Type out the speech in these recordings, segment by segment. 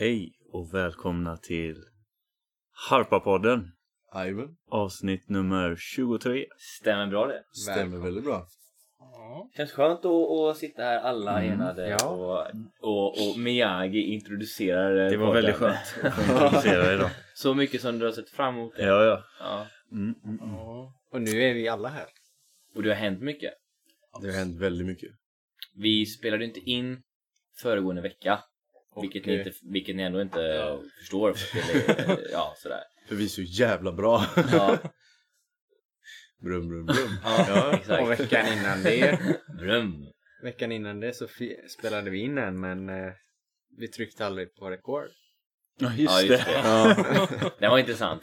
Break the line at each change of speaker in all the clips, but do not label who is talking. Hej och välkomna till Harpa-podden
Ivan.
avsnitt nummer 23.
Stämmer bra det.
Stämmer väldigt bra.
Känns skönt att, att sitta här alla
Mm.
enade
Ja.
och, och, och Miyagi introducerar
Det var
podden.
väldigt skönt att få introducera idag.
Så mycket som du har sett fram emot.
Ja, ja.
Ja.
Mm, mm, mm.
Och nu är vi alla här.
Och det har hänt mycket.
Det har hänt väldigt mycket.
Vi spelade inte in föregående vecka. Vilket, ni
Okej.
eh,
inte, vilket ni ändå inte förstår. För att det är, ja, sådär.
För vi är så jävla bra.
Ja,
brum, brum, brum.
ja,
Och
exakt.
veckan innan det,
Brum.
veckan innan det så fi- spelade vi in en men eh, vi tryckte aldrig på record.
Ja,
Ja,
just
just
det.
det.
Ja.
Det var intressant.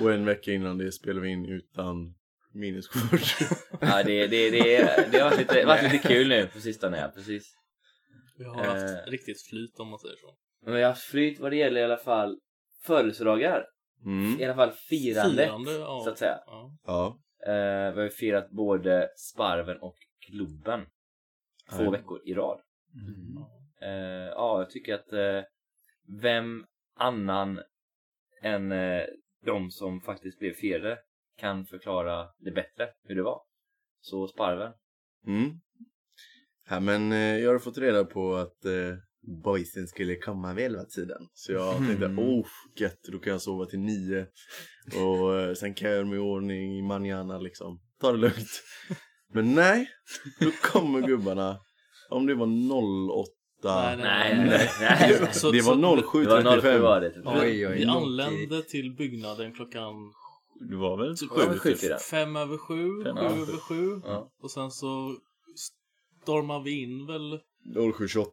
Och en vecka innan det spelar vi in utan minneskort.
Ja, det, det, det, det har varit lite, varit lite kul nu på sistone. Ja, precis.
Vi har haft
Eh.
riktigt flyt om man säger så.
Men jag har haft flyt vad det gäller i alla fall födelsedagar. I
Mm.
alla fall firandet.
ja.
så att säga.
Ja.
Ja.
Eh, vi har ju firat både Sparven och Globen. Två
Ja.
veckor i rad.
Mm.
Eh, ja, jag tycker att eh, vem annan än eh, de som faktiskt blev firade kan förklara det bättre hur det var. Så Sparven.
Mm. Ja, men eh, jag har fått reda på att eh, boysen skulle komma vid elva tiden. Så jag tänkte,
Mm.
oh gött, då kan jag sova till nio. Och eh, sen kan jag göra mig i ordning i manana liksom. Ta det lugnt. Men nej, då kommer gubbarna. Om det var 08.
Nej,
Nej,
nej,
nej,
nej.
Det,
nej.
Så-
det
så-
var
Det var 07
07.35.
var det. Typ.
Vi,
Oj, oj,
vi
lång
anlände till byggnaden klockan
Det var väl
Typ
över sju,
sju?
fyra.
typ.
fem över sju,
Fem
sju
över
över sju.
Ja.
Och sen så stormar vi in väl...
07.28.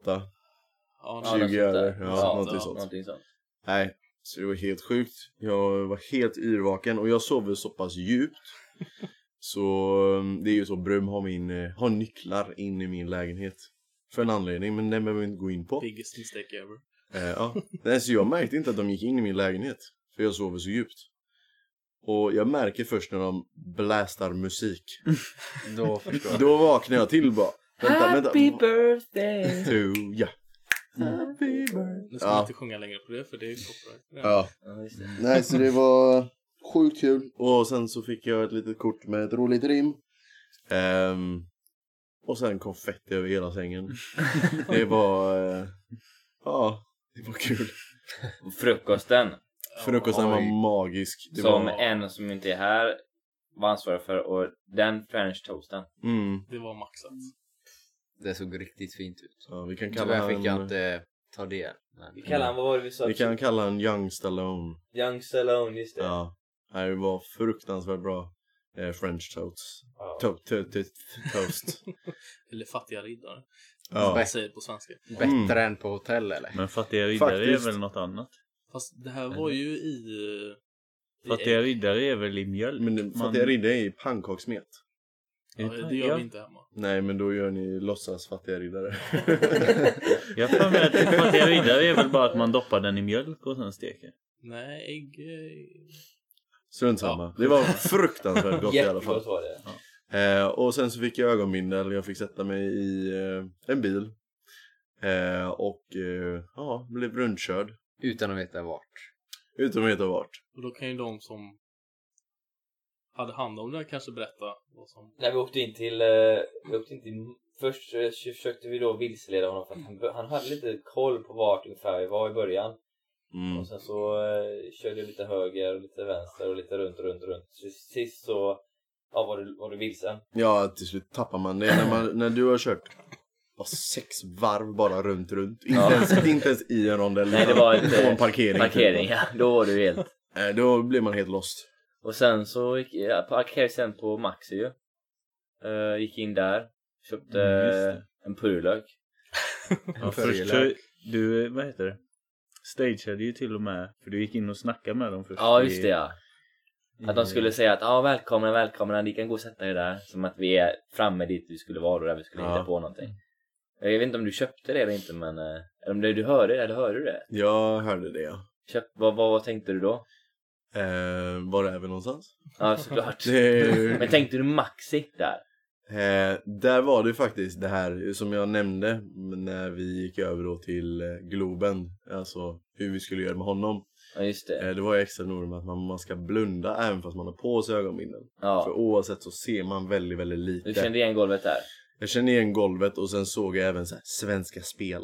Ja,
20
Ja,
det-
något sånt där.
öre. Ja,
Ja,
någonting
ja,
sånt.
Någonting sånt.
Nej, så det var helt sjukt. Jag var helt yrvaken och jag sov så pass djupt. Så um, det är ju så, Brum har, min, eh, har nycklar in i min lägenhet. För en anledning, men den behöver vi inte gå in på.
biggest mistake ever.
Eh, ja. Nej, så jag märkte inte att de gick in i min lägenhet. För jag sover så djupt. Och jag märker först när de blästar musik.
Då förstår jag.
Då vaknar jag till bara. Vänta, vänta.
Happy birthday!
To, ja. Happy
Nu
birthday.
ska
Ja,
vi inte sjunga längre på det för det är copyright.
ja.
Ja, just det.
Nej, så det var sjukt kul. Och sen så fick jag ett litet kort med ett roligt rim. Ehm, och sen konfetti över hela sängen. det var... eh, ja, det var kul.
Och Frukosten.
Frukosten var
oj.
magisk. Det
som
var,
en som inte är här var ansvarig för och den french toasten.
mm,
Det var maxat.
Det såg riktigt fint ut.
ja, vi kan kalla
Tyvärr fick jag
han...
inte ta del. Men...
kallar han-
vad var det vi sa?
Vi kan kalla han Young Stallone.
Young Stallone, just
Ja. Nej, Det var fruktansvärt bra. Eh, French toast. To- to- to- toast.
Eller fattiga riddare. Som
ja.
man säger på svenska.
Bättre
Mm.
än på hotell eller?
Men fattiga riddare är
Faktiskt.
väl något annat?
Fast det här var ju i... eh, i
Fattiga riddare är väl i mjölk?
Men det-
Man-
fattiga riddare är i pannkakssmet.
Ja, det gör vi inte hemma.
Nej, men då gör ni låtsas fattiga riddare.
Jag har för mig att fattiga riddare är väl bara att man doppar den i mjölk och sen steker.
Nej, ägg... eh,
Strunt samma. Det var fruktansvärt gott i alla fall.
var det.
Eh, och sen så fick jag ögonbindel. Jag fick sätta mig i eh, en bil. Eh, och eh, ja, blev rundkörd.
Utan att veta vart.
Utan att veta vart.
Och då kan ju de som hade hand om det här kanske berätta vad som...
När vi åkte in till, eh, vi åkte in till först eh, försökte vi då vilseleda honom för att han, bör- han hade lite koll på vart ungefär vi var i början.
Mm.
Och sen så eh, körde jag lite höger och lite vänster och lite runt och runt och runt. Så sist så ja, var, du, var du vilsen.
Ja, till slut tappar man det. När, man, när du har kört bara sex varv bara runt, runt. Inte,
Ja.
ens, inte ens i en rondell.
Nej, det var
utan
ett,
på
eh,
en parkering. typ.
Parkering, ja. Då var du helt...
Eh, då blir man helt lost.
Och sen så gick jag parkerade sen på Maxi ju. Eh, gick in där, köpte
Mm, just det.
en purjolök.
Ja, först så, du, eh, vad heter det? Stageade ju till och med, för du gick in och snackade med dem först.
Ja
i-
just det ja. Att de
i-
skulle säga att ja välkomna, välkomna, ni kan gå och sätta er där. Som att vi är framme dit vi skulle vara då, där vi skulle
Ja.
hitta på någonting. Jag vet inte om du köpte det eller inte men, eh, eller om det, du hörde det, eller hörde du det?
Jag hörde det ja.
Köp, vad, vad, vad tänkte du då?
Eh, var är vi någonstans?
Ja såklart.
Det är...
Men tänkte du Maxi där?
Eh, där var det faktiskt det här som jag nämnde när vi gick över då till eh, Globen, alltså hur vi skulle göra med honom.
Ja, just det.
Eh, det var ju extra noga med att man, man ska blunda även fast man har på sig ögonbindeln. För
Ja,
oavsett så ser man väldigt, väldigt lite.
du kände igen golvet där?
Jag kände igen golvet och sen såg jag även så här, svenska spel.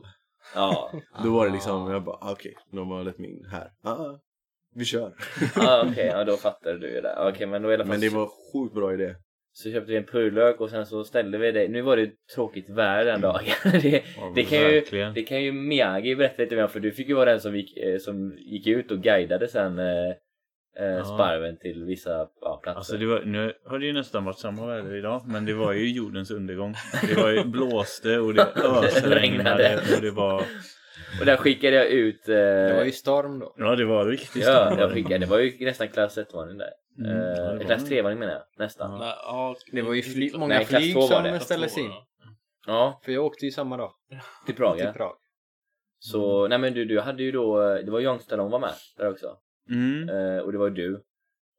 Ja,
Då var det liksom,
Ah.
jag bara ah, okej, de har lett mig in här. Ah, ah, vi kör.
ah, okej, ja, då fattade du ju det. Okej, men då i alla fall
Men det var sjukt bra idé.
så köpte vi en purjolök och sen så ställde vi det. Nu var det ju tråkigt väder den dagen. Det, det, kan ju,
Mm. verkligen.
det kan ju Miyagi berätta lite mer om för du fick ju vara den som gick, eh, som gick ut och guidade sen eh, eh,
Ja.
sparven till vissa ja, platser.
Alltså det var, nu har det ju nästan varit samma väder idag men det var ju jordens undergång. Det var ju blåste och det ösregnade och det var...
Och där skickade jag ut... Eh,
Det var ju storm då.
Ja det var riktigt
ja,
storm.
jag skickade, det var ju nästan klass 1-varning där.
Mm,
Eh,
ja, det var
klass
det.
3-varning menar jag, nästan.
Ja.
Ja.
Det
Nej, ja,
var ju
inte
fly-
klart.
många
Mm. Nej, klass två var
flyg som
det.
ställdes in. För jag åkte ju samma dag
till Praga.
till Prag.
Så, nej men du, du hade ju då, eh, det var John Stallone var med där också.
Mm,
Eh, och det var du.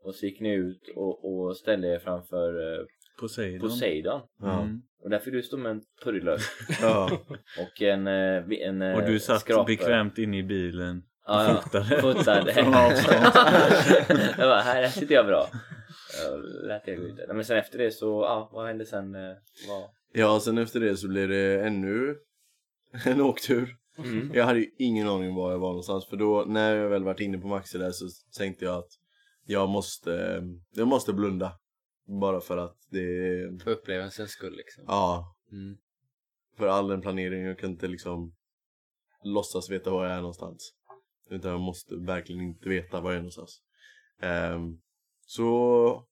Och så gick ni ut och, och ställde er framför eh,
Poseidon.
Poseidon.
Ja.
Mm.
Och där fick du stå med en purjolök
Ja.
och en, eh, vi- en eh,
Och du satt
skrapa.
bekvämt inne i bilen.
Ja, ja.
Fotade.
Fotade.
Från avstånd.
jag bara, här, här sitter jag bra. Jag lät jag gå ut. där. Men sen efter det så, ja, vad hände sen? eh, Vad...
ja, sen efter det så blev det ännu en åktur.
Mm.
Jag hade ju ingen aning om var jag var någonstans för då när jag väl varit inne på Maxi där så tänkte jag att jag måste, eh, jag måste blunda. Bara för att det,
För upplevelsens skull liksom.
ja,
Mm.
för all den planeringen, jag kan inte liksom låtsas veta var jag är någonstans. Utan jag måste verkligen inte veta var jag är någonstans. Ehm, så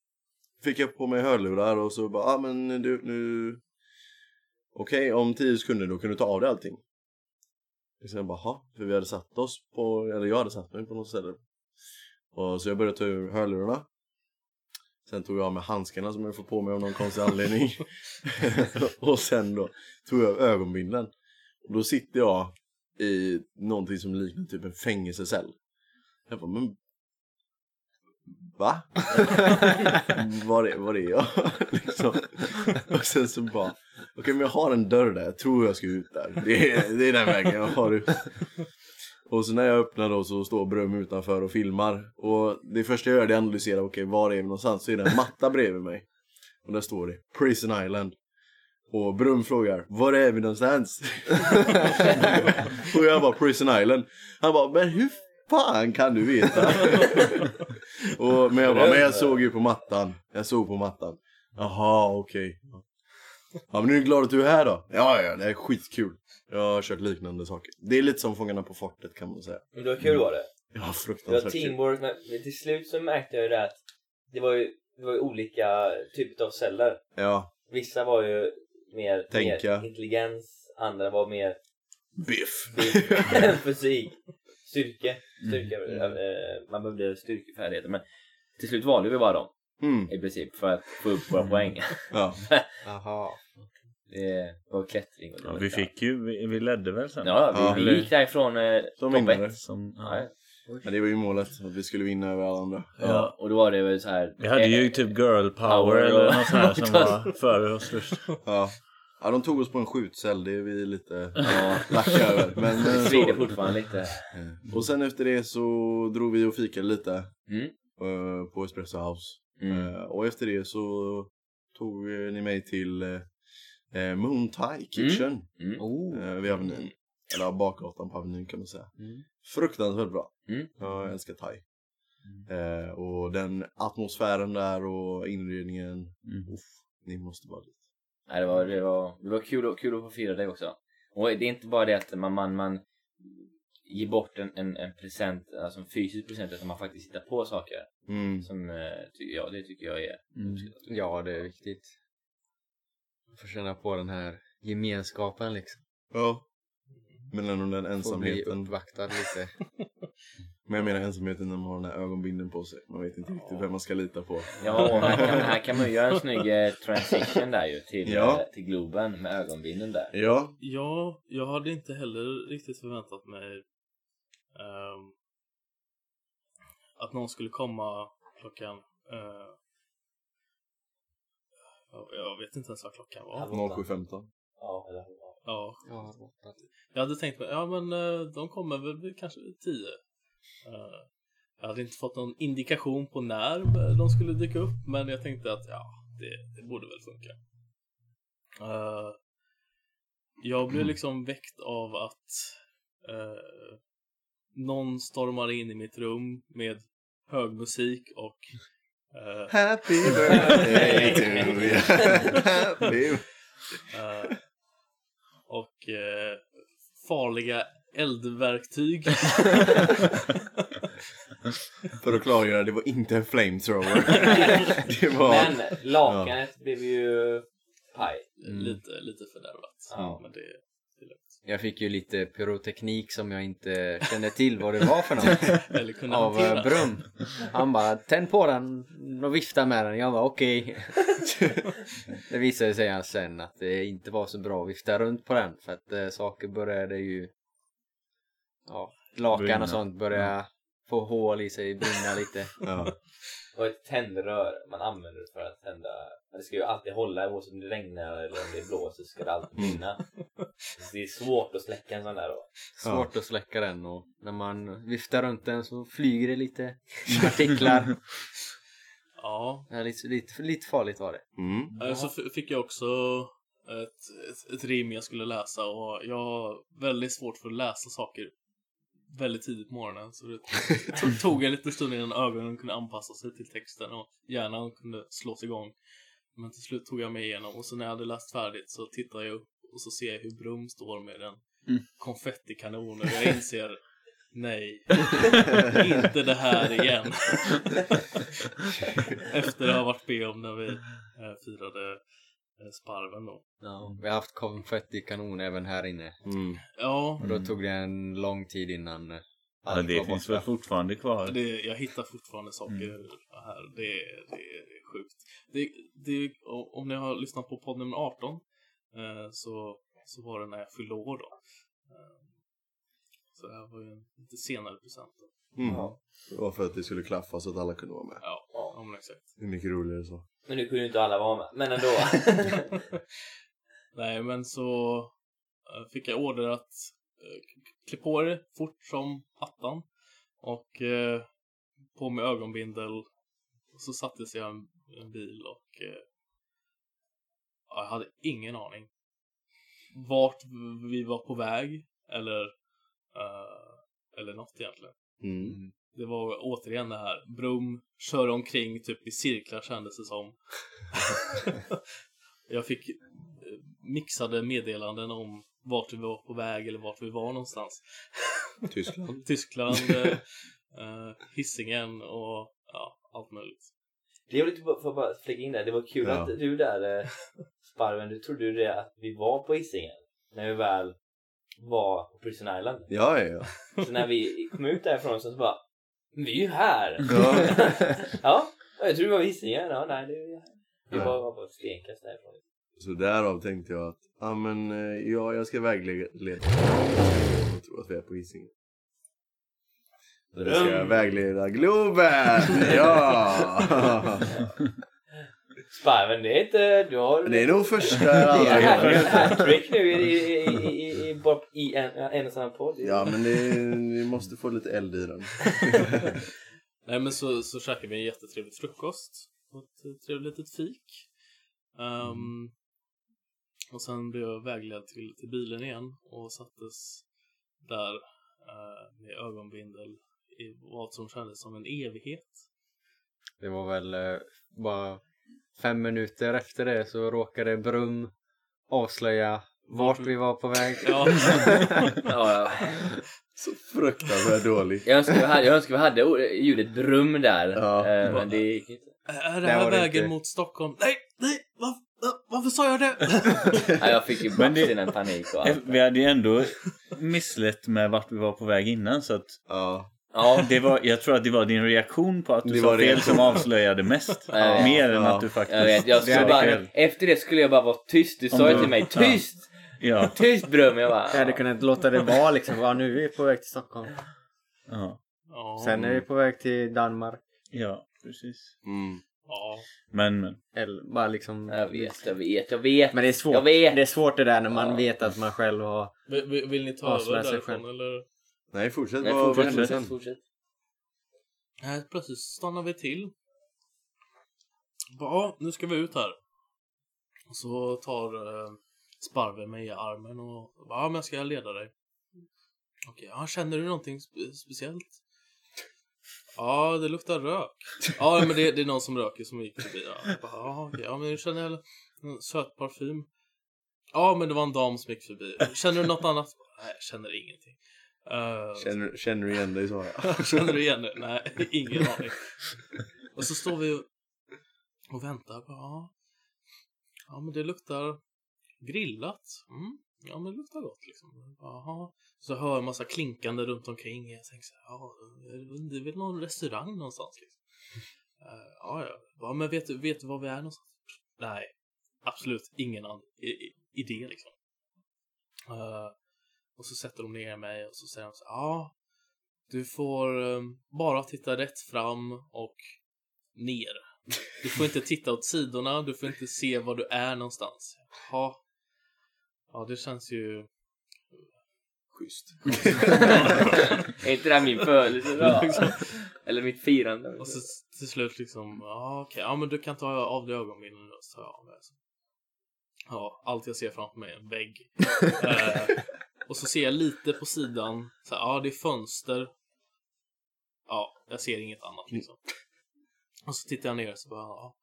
fick jag på mig hörlurar och så bara, ah, men du nu, okej om 10 sekunder då kan du ta av dig allting. Och sen bara, "Ha?" för vi hade satt oss på, eller jag hade satt mig på något ställe. Och så jag började ta ur hörlurarna. Sen tog jag av mig handskarna som jag får på mig av någon konstig anledning. och sen då tog jag av ögonbindeln. Och då sitter jag i någonting som liknar typ en fängelsecell. Jag bara, men... Va? var, är, var är jag? liksom. Och sen så bara, okej men jag har en dörr där, jag tror jag ska ut där. Det är, det är den vägen jag har ut. Och så när jag öppnar då så står Brum utanför och filmar. Och det första jag gör det är att analysera, okej var är vi någonstans? Så är det en matta bredvid mig. Och där står det Prison Island. Och Brum frågar, var är vi någonstans? och jag bara, Prison Island. Han bara, men hur fan kan du veta? och, men jag bara, men jag såg ju på mattan. Jag såg på mattan. Jaha, okej. Ja men nu är du glad att du är här då? Ja, ja, det är skitkul. Jag har kört liknande saker. Det är lite som Fångarna på fortet kan man säga.
Men det var kul var
Mm.
det.
Ja,
Det var
fruktansvärt kul.
teamwork, men men till slut så märkte jag ju det att det var ju, det var ju olika typer av celler.
Ja,
Vissa var ju mer,
Tänka.
mer intelligens, andra var mer
biff.
fysik- fysik, styrke.
Mm.
styrka eh, man behövde styrkefärdigheter. Men till slut valde vi bara dem
Mm,
i princip för att få upp våra poäng.
ja.
Jaha.
Det var klättring och det
Ja,
var
vi
lite annat.
fick ju, vi, vi ledde väl sen?
Ja, vi,
Eller-
vi gick därifrån eh,
Som
topp
vinnare.
ett.
Som, ja.
Ja,
Men det var ju målet, att vi skulle vinna över alla andra.
ja. Och då var det väl så här. eh,
Vi hade ju typ girl power
Power
eller
och-
något sånt här som var före oss först.
Ja. ja, de tog oss på en skjutcell, det är vi lite
Ja,
lacka över. Men,
det
men
svider
så. Eh,
fortfarande lite.
Och sen efter det så drog vi och fikade lite
Mm.
eh, på Espresso House.
Mm.
Eh, och efter det så tog eh, ni mig till eh, Moon Thai Kitchen.
Mm.
Oh.
eh, vid Avenyn. Eller bakgatan på Avenyn kan man säga.
Mm.
Fruktansvärt bra.
Mm.
Jag älskar thai. Eh, och den atmosfären där och inredningen.
Mm.
Uff, ni måste bara dit.
Nej, det var, det var, det var kul, och, kul att få fira det också. Och det är inte bara det att man, man, man ger bort en, en, en present, alltså en fysisk present, utan man faktiskt hittar på saker.
Mm.
Som, eh, ty, ja, det tycker jag är
Mm.
Ja, det är viktigt. Få känna på den här gemenskapen liksom.
Ja. Men ändå den
Få bli
ensamheten.
uppvaktad lite.
Men jag menar ensamheten när man har den här ögonbinden på sig. Man vet inte riktigt vem man ska lita på.
Ja, och här kan, här kan man ju göra en snygg eh, transition där ju till,
Ja.
eh, till Globen med ögonbindeln där.
Ja.
Ja, jag hade inte heller riktigt förväntat mig ehm, att någon skulle komma klockan eh, Jag, jag vet inte ens vad klockan var.
07.15.
Ja, eller hur?
Ja,
Ja, åtta.
jag hade tänkt mig, ja men eh, de kommer väl vid kanske vid tio. Eh, Jag hade inte fått någon indikation på när de skulle dyka upp, men jag tänkte att ja, det, det borde väl funka. Eh, Jag blev liksom väckt av att eh, någon stormar in i mitt rum med hög musik och eh,
Happy birthday to you. Happy
Eh, och eh, farliga eldverktyg.
För att klargöra, det var inte en flamethrower. Det var...
Men lakanet blev ju paj.
lite, lite fördärvat.
Ja.
Men det, det är lugnt.
Jag fick ju lite pyroteknik som jag inte kände till vad det var för något.
Eller kunna
Av
hantera.
eh, Brum. Han bara tänd på den och vifta med den. Jag var okej. det visade sig han sen att det inte var så bra att vifta runt på den. För att eh, saker började ju... Ja, lakan
Brinna.
och sånt började få hål i sig, brinna lite.
Ja.
Och ett tändrör man använder för att tända. Men Det ska ju alltid hålla oavsett om det regnar eller om det blåser så ska det alltid
Mm.
brinna. Så Det är svårt att släcka en sån där då.
Svårt att släcka den och när man viftar runt den så flyger det lite partiklar.
Ja.
Ja, lite, lite, lite farligt var det.
Mm.
Eh, Så f- fick jag också ett, ett, ett rim jag skulle läsa och jag har väldigt svårt för att läsa saker väldigt tidigt på morgonen. Så det to- tog en liten stund innan ögonen kunde anpassa sig till texten och hjärnan kunde slås igång. Men till slut tog jag mig igenom och så när jag hade läst färdigt så tittar jag upp och så ser jag hur Brum står med en konfettikanon och jag inser nej, inte det här igen. Efter att ha varit med om när vi eh, firade eh, sparven då.
Vi har haft konfettikanon även här inne.
Mm.
Ja,
Och då tog det en lång tid innan eh,
Ja,
allt
det
var
finns
borta.
väl fortfarande kvar.
det, jag hittar fortfarande saker här. Det, det, det är sjukt. Det, det, o- om ni har lyssnat på podd nummer 18 eh, så, så var det när jag fyllde år då. Eh, så det här var ju en lite senare present. då.
Mm. Det var för att det skulle klaffa så att alla kunde vara med.
Ja, ja. men exakt.
Det är mycket roligare så.
Men nu kunde ju inte alla vara med. Men ändå.
Nej, men så eh, fick jag order att eh, k- klä på det fort som attan och eh, på med ögonbindel. Och så satte sig jag i en, en bil och eh, ja, jag hade ingen aning vart v- vi var på väg eller, eh, eller något egentligen.
Mm.
Det var återigen det här, Brum kör omkring typ i cirklar kändes det som. jag fick eh, mixade meddelanden om vart vi var på väg eller vart vi var någonstans.
Tyskland.
Tyskland, eh, eh, Hisingen och ja, allt möjligt.
Det var lite bara- för att bara flika in där. Det var kul
Ja.
att du där eh, Sparven, du trodde ju det att vi var på Hisingen. När vi väl var på Prison Island.
Ja, ja, ja.
Så när vi kom ut därifrån så bara Vi är ju här!
ja.
ja, jag tror det var Hisingen. Ja, nej, det är ju här. Vi
Ja.
var var bara stenkast därifrån.
Så därav tänkte jag att, ja ah, men eh, ja, jag ska vägleda. Jag tror att vi är på Hisingen. Jag ska
Mm.
vägleda Globen! Ja!
Sparven, det är inte... Du har...
Det är nog första alla gånger.
Hattrick nu i, i, i, i, i, bara i en, en och samma podd.
Ja men det, vi måste få lite eld i den.
Nej men så, så käkade vi en jättetrevlig frukost och ett trevligt litet fik. Ehm, Och sen blev jag vägledd till, till bilen igen och sattes där eh, med ögonbindel i vad som kändes som en evighet.
Det var väl eh, bara fem minuter efter det så råkade Brum avslöja vart vi var på väg.
Ja,
ja.
Så fruktansvärt dålig.
Jag önskar vi hade, jag önskar vi hade or- ljudet brum där.
Ja.
Eh, men det gick inte.
är det
Nej,
här
var det
vägen
inte.
mot Stockholm? Nej, nej, va, va, varför sa jag det?
Ja, jag fick ju
Men det-
baps innan panik och allt.
Eh, Vi hade ju ändå misslett med vart vi var på väg innan så att
Ja.
Ja,
det var, jag tror att det var din reaktion på att du
Det
sa
var
fel
reaktion.
som avslöjade mest.
Ja, jag vet.
Mer än
Ja,
att du faktiskt...
jag vet. Jag skulle
hade
bara,
fel.
efter det skulle jag bara vara tyst. Du sa ju
du-
till mig
Ja.
tyst!
Ja,
Tyst brum! Jag bara...
Jag hade kunnat låta det vara liksom. Ja, nu är vi på väg till Stockholm.
ja,
Ja,
Sen är vi på väg till Danmark.
ja, precis.
Mm.
Ja.
Men, men.
Eller bara liksom...
Jag vet, jag vet, jag vet.
Men det är svårt.
Jag vet.
Det är svårt det där när man
Ja.
vet att man själv har...
Vill, vill, vill ni ta
Avslöja
över
sig
därifrån
själv.
eller?
Nej, fortsätt.
Nej,
vad- vad
fortsätt,
hände
fortsätt,
sen?
fortsätt.
Nej, plötsligt stannar vi till. Bara, "Ja, nu ska vi ut här. Och så tar eh, Sparven mig i armen och bara, "Ja, men ska jag leda dig? Okej, ja, känner du någonting spe- speciellt? Ja, det luktar rök. Ja, men det, det är någon som röker som gick förbi. Ja, Jag bara, ja, okej, ja men nu känner jag en söt parfym. Ja, men det var en dam som gick förbi. Känner du något annat? Nej, jag känner ingenting. Eh,
Känner, känner du igen dig Sara?
Känner du igen det? Nej, ingen aning. Och så står vi och- och väntar. på, Ja, ja men det luktar grillat. Mm. Ja, men det luktar gott liksom. Jaha. Så hör jag en massa klinkande runt omkring. Jag tänker så här, ja, det är väl någon restaurang någonstans liksom. Eh, ja, ja. ja, men vet du vet du var vi är någonstans? Nej, absolut ingen an- i- i- idé liksom. Eh, och så sätter de ner mig och så säger de så här, ja, du får ehm, bara titta rätt fram och ner. Du får inte titta åt sidorna, du får inte se var du är någonstans. Jaha. Ja, det känns ju...
Schysst.
Är inte det här min födelsedag? Eller mitt firande?
Och så s- till slut liksom, ja okej, ja men du kan ta av dig ögonbindeln då, så tar jag av mig. Ja, allt jag ser framför mig är en vägg. eh, och så ser jag lite på sidan, så här, ja det är fönster. Ja, jag ser inget annat
Mm.
liksom. Och så tittar jag ner och så bara, ja,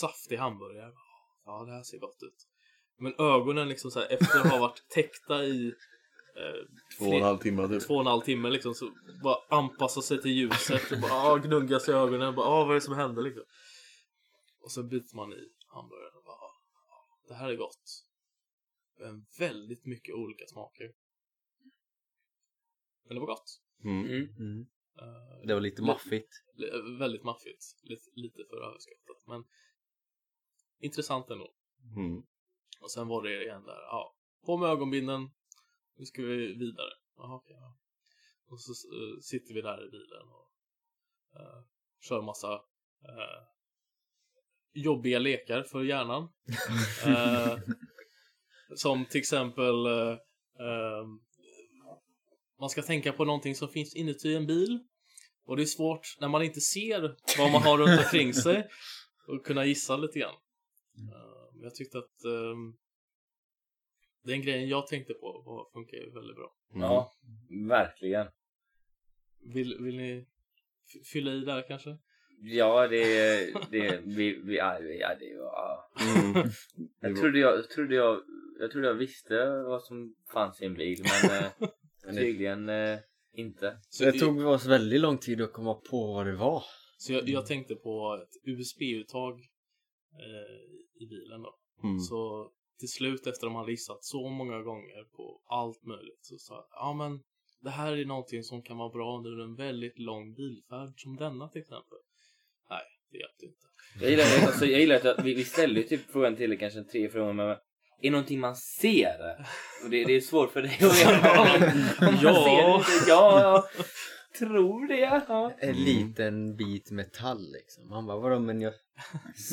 saftig hamburgare. Ja, det här ser gott ut. Men ögonen liksom så här, efter att ha varit täckta i eh,
Två och en halv timme typ.
två och en halv timme liksom så bara anpassa sig till ljuset och bara ah, gnugga sig i ögonen. Bara, ah, vad är det som händer liksom? Och sen byter man i hamburgaren och bara ah, det här är gott. Men väldigt mycket olika smaker. Men det var gott.
Mm.
Mm.
Eh,
Det var lite maffigt.
li- Väldigt maffigt. Lite, lite för överskattat. Men intressant ändå.
Mm.
Och sen var det igen där, ja, på med ögonbindeln, nu ska vi vidare. Jaha, okej, ja. Och så eh, sitter vi där i bilen och eh, kör massa eh, jobbiga lekar för hjärnan. Eh, som till exempel eh, eh, man ska tänka på någonting som finns inuti en bil. Och det är svårt när man inte ser vad man har runt omkring sig och kunna gissa lite grann. Eh, Men jag tyckte att ehm, den grejen jag tänkte på var, funkar ju väldigt bra.
Mm.
Ja, verkligen.
Vill, vill ni f- fylla i där kanske?
Ja, det... det vi, vi, ja, vi, ja, det var... ja.
Mm. Det
Jag
var-
trodde jag, trodde jag, jag trodde jag visste vad som fanns i en bil, men eh, tydligen eh, inte.
Så,
Det tog oss väldigt lång tid att komma på vad det var.
så jag,
Mm.
jag tänkte på ett USB-uttag eh, i bilen då.
Mm.
Så till slut efter att man listat så många gånger på allt möjligt så sa jag ja men det här är någonting som kan vara bra under en väldigt lång bilfärd som denna till exempel. Nej, det hjälpte inte.
Jag gillar, alltså, jag gillar att vi, vi ställde ju typ frågan till dig, kanske tre frågor, men är det någonting man ser? Och det, det är svårt för dig att veta om, om man
Ja.
ser det inte. Ja, jag tror det. Ja.
En
Mm.
liten bit metall liksom. Han bara vadå men jag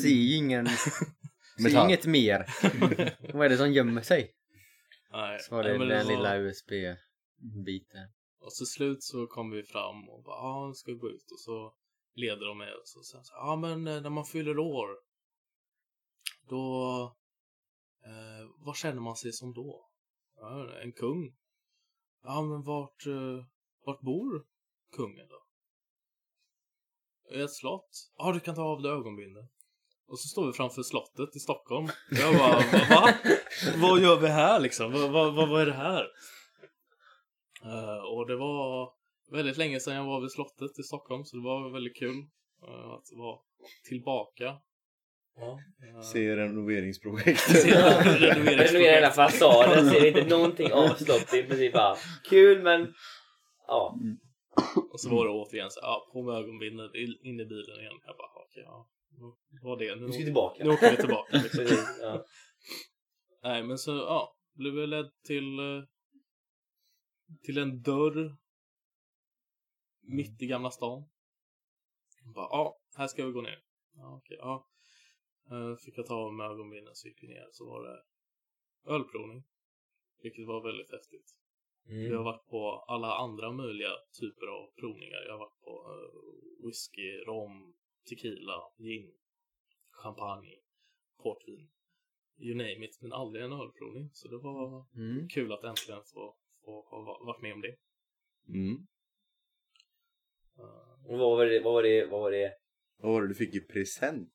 ser ju ingen... ser
Metall.
inget mer. vad är det som gömmer sig?
Nej,
Så var det
nej, men
den
var-
lilla USB-biten.
Och till slut så kom vi fram och bara, ja, nu ska vi gå ut och så leder de med oss och sen så, ja men eh, när man fyller år då, eh, vad känner man sig som då? Ja, en kung. Ja men vart, eh, vart bor kungen då? I ett slott? Ja du kan ta av dig ögonbindeln. Och så står vi framför slottet i Stockholm. Jag bara, va? va? Vad gör vi här liksom? Vad, vad, vad, vad är det här? Eh, och det var väldigt länge sedan jag var vid slottet i Stockholm så det var väldigt kul eh, att vara tillbaka. Ja, eh,
Se renoveringsprojekt.
Renovera hela fasaden, ser inte någonting av slottet. Det är i princip bara kul men... Ja.
Och så var det återigen så ja, på med ögonbindeln in- in i bilen igen. Jag bara, "Ah, okej, ja. Vad var det? Nu,
Nu ska vi tillbaka.
nu åker vi tillbaka. liksom.
Precis, ja.
Nej, men så, ja. Blev jag ledd till eh, till en dörr mitt i Gamla stan. Jag Bara, ja, här ska vi gå ner. Ja, okej, ja. Eh, Fick jag ta av mig ögonbindeln så gick vi ner så var det ölprovning. Vilket var väldigt häftigt.
Mm.
Jag har varit på alla andra möjliga typer av provningar. Jag har varit på eh, whisky, rom, tequila, gin, champagne, portvin. You name it, men aldrig en ölprovning. Så det var
Mm.
kul att äntligen få, få ha va- varit med om det.
Mm.
Eh,
Och vad var det, vad var det, vad var det,
Vad var det du fick i present?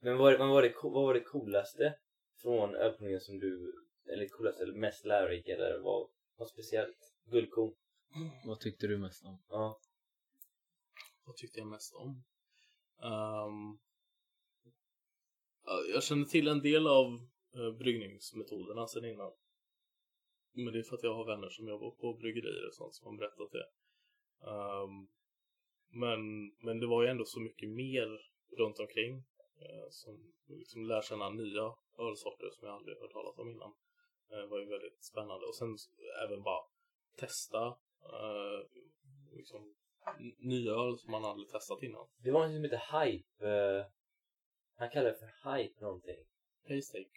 men vad, vad, var det co- vad var det coolaste från öppningen som du, eller coolaste eller mest lärorika eller vad, vad speciellt? Guldkorn?
Vad tyckte du mest om?
Ja.
Vad tyckte jag mest om? Ehm, ja, jag känner till en del av uh, bryggningsmetoderna sen innan. Men det är för att jag har vänner som jobbar på bryggerier och sånt som har berättat det. Ehm, men, men det var ju ändå så mycket mer runt omkring eh, som liksom lär känna nya ölsorter som jag aldrig hört talas om innan. Eh, Det var ju väldigt spännande och sen s- även bara testa eh, liksom n- nya öl som man aldrig testat innan.
Det var en som hette Hype, eh, han kallade det för Hype någonting.
Haystack,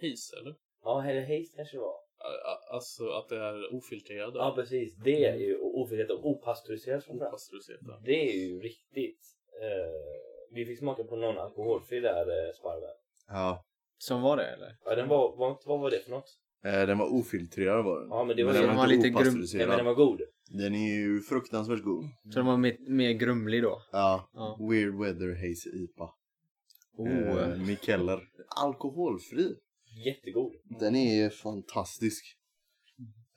Hayes eller?
Ja, eller Haze kanske det var.
A- a- Alltså att det är ofiltrerad
Ja, precis. Det är ju ofiltrerat och opastöriserat framförallt.
Opastöriserat. ja.
Det är ju riktigt. eh, vi fick smaka på någon alkoholfri där, eh, sparven.
Ja.
Som var det eller?
Ja, den var, var, inte- vad var det för något?
Eh, den var ofiltrerad var den.
Ja, men det var
men
ju-
den
var
inte
lite grum-
Nej,
opastöriserad.
men den var god.
Den är ju fruktansvärt god.
Så den var mer, mer grumlig då?
Ja.
Ja.
Weird Weather Haze IPA.
Oh.
Eh, Mikeller. Alkoholfri.
Jättegod.
Den är fantastisk.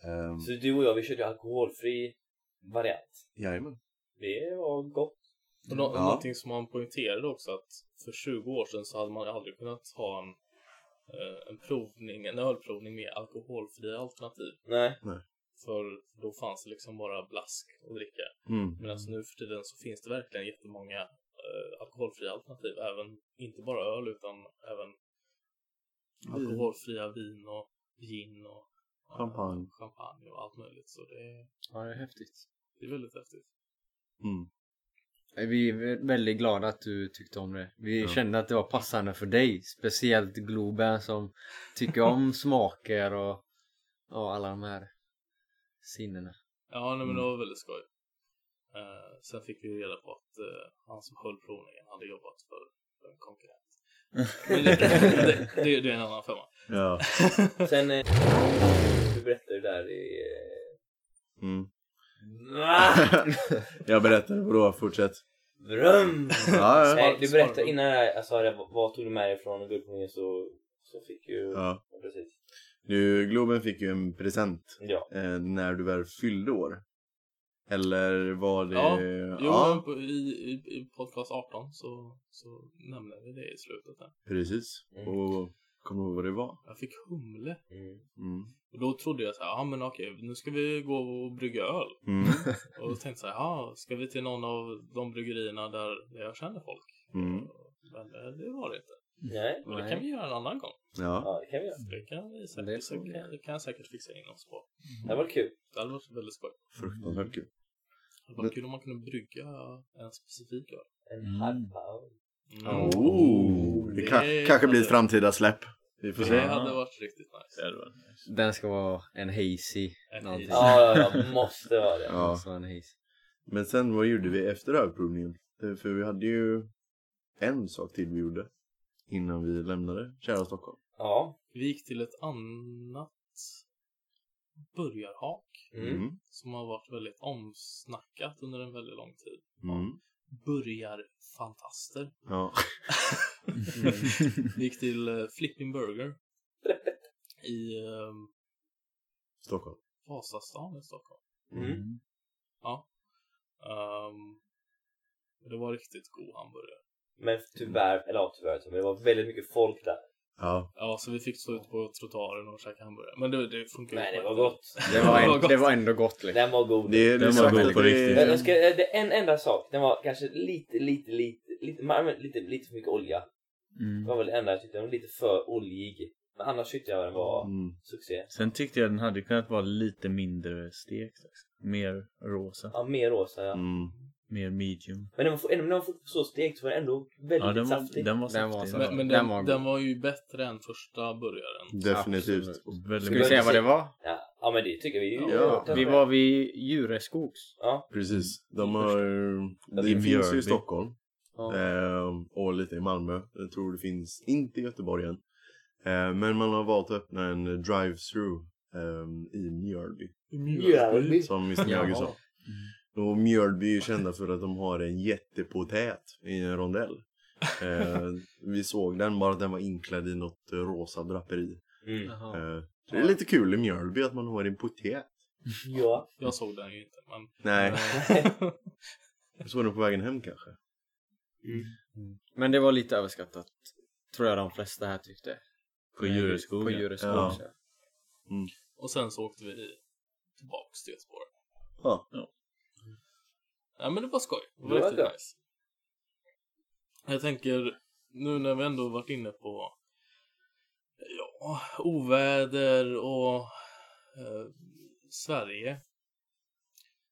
Ehm,
Så du och jag, vi körde alkoholfri variant.
jajamän.
Det var gott.
Och nå-
Ja.
Någonting som han poängterade också att för 20 år sedan så hade man aldrig kunnat ha en, eh, en provning, en ölprovning med alkoholfria alternativ.
Nej.
För då fanns det liksom bara blask att dricka.
Mm.
Medan alltså, nu för tiden så finns det verkligen jättemånga eh, alkoholfria alternativ. Även, inte bara öl utan även alkoholfria vin och gin och eh,
Champagne.
champagne och allt möjligt. Så det är,
Ja, det är häftigt.
det är väldigt häftigt.
Mm.
Eh, Vi är väldigt glada att du tyckte om det. Vi
Ja.
kände att det var passande för dig. Speciellt Globen som tycker om smaker och, och alla de här sinnena.
Ja, nej, men
Mm.
det var väldigt skoj. Eh, sen fick vi reda på att eh, han som höll provningen hade jobbat för, för en konkurrent. Men det, det, det, det är en annan femma.
Ja.
Sen... Eh, du berättade ju där i... Eh...
Mm.
Ah!
Jag berättar, vadå? Fortsätt.
Dröm!
Ja, ja.
Nej, du berättade innan det här, alltså, det här, vad tog du med dig från guldprovningen så, så fick ju...
ja.
Ja, Precis.
Du, Globen fick ju en present
Ja.
eh, när du väl fyllde år. Eller var det...
Ja, Jo, men
ja
på- i, i, i podcast 18 så, så nämnde vi det i slutet. Där.
precis.
Mm.
Och kommer du ihåg vad det var?
Jag fick humle.
Mm.
Mm.
Och då trodde jag så här, ja men okej, nu ska vi gå och brygga öl.
Mm.
Och då tänkte jag så här, ja, ska vi till någon av de bryggerierna där där jag känner folk?
Mm.
Men eh, det var det inte.
Nej.
Men det kan vi göra en annan gång.
Ja.
Ja, det kan vi göra.
Det kan vi
Men det
säkert, så
får vi
kan, det kan jag säkert fixa in oss på.
Det var kul.
Det hade varit väldigt skoj.
Fruktansvärt kul.
Det var kul om man kunde brygga en specifik öl.
En
Mm.
halv power.
Mm.
Oh, det kan, kanske blir ett framtida släpp. Vi får
Det
se.
hade varit riktigt nice.
Den ska vara en hazy.
En
någonting.
hazy.
Ja, ja, ja, måste vara det.
Ja.
Ja. En hazy.
Men sen vad gjorde vi efter överprovningen? Eh, För vi hade ju en sak till vi gjorde innan vi lämnade kära Stockholm.
Ja.
Vi gick till ett annat burgarhak
Mm.
som har varit väldigt omsnackat under en väldigt lång tid.
Mm.
Burgarfantaster.
Ja.
Mm. Vi gick till eh, Flipping Burger i eh,
Stockholm.
Vasastan i Stockholm.
Mm.
Ja. Ehm, det var riktigt god hamburgare.
Men tyvärr, eller ja tyvärr, men det var väldigt mycket folk där.
Ja.
Ja, så vi fick stå ute på trottoaren och käka hamburgare. Men det, det funkar ju
Men det
skit.
var gott.
Det
Ja,
var,
det var
en,
gott.
det var ändå gott liksom.
Den var god.
Det är
Den
det
var
sagt
god
att
på
det
riktigt.
Men
är...
jag ska, eh, det är en enda sak. Den var kanske lite, lite, lite, lite, man använde lite, lite för mycket olja.
Mm.
Det var väl det enda jag tyckte. Den var lite för oljig. Men annars tyckte jag den var
Mm.
succé.
Sen tyckte jag den hade kunnat vara lite mindre stekt. liksom. Mer rosa.
Ja, mer rosa ja.
Mm.
mer medium.
Men när man får, när man får så stekt så var den ändå väldigt
Ja, den var,
saftig.
den var
Den var
saftig.
så-
Men, men
Den
den,
var god.
den, var ju bättre än första burgaren.
Definitivt.
Absolut.
Väldigt
Ska vi säga vad det var?
Ja, ja, men det tycker vi. ju.
Ja.
Vi var vid Djureskogs.
Ja,
Precis. De har, det
I
finns ju
Mjölby.
i Stockholm.
Ja.
Ehm, och lite i Malmö. Jag tror det finns inte i Göteborg än. Ehm, men man har valt att öppna en drive-through ehm, i Mjölby.
Mjölby.
Som Mr Mjöge sa. Och Mjölby är kända för att de har en jättepotät i en rondell. Eh, vi såg den bara att den var inklädd i något eh, rosa draperi.
Mm.
Eh, så det är lite kul i Mjölby att man har en potät.
Ja.
Jag såg den ju inte. Men...
Nej,
Eh,
jag såg den på vägen hem kanske.
Men det var lite överskattat. Tror jag de flesta här tyckte.
På Djureskog.
På
ja.
Djureskogs ja.
och sen så åkte vi tillbaks till Göteborg.
Ja.
Ja, men det var skoj. Det
Det
var
var
riktigt
det.
nice. Jag tänker, nu när vi ändå varit inne på ja, oväder och eh, Sverige.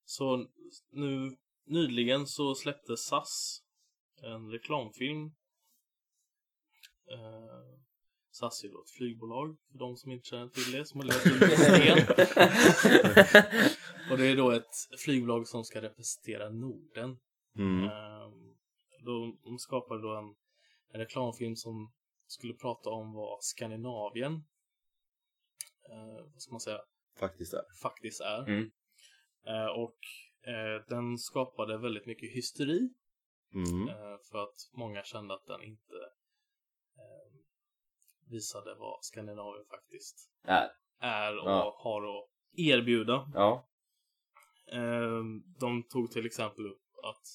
Så nu nyligen så släppte SAS en reklamfilm. Eh, SAS är då ett flygbolag, för de som inte känner till det, som har levt under sten. Och det är då ett flygbolag som ska representera Norden.
Mm.
Ehm, De, de skapade då en, en reklamfilm som skulle prata om vad Skandinavien, eh, vad ska man säga,
Faktiskt är.
faktiskt är.
Mm.
Eh, och eh, den skapade väldigt mycket hysteri
Mm.
eh, för att många kände att den inte eh, visade vad Skandinavien faktiskt
Är.
är och
Ja.
har att erbjuda.
Ja.
Eh, De tog till exempel upp att,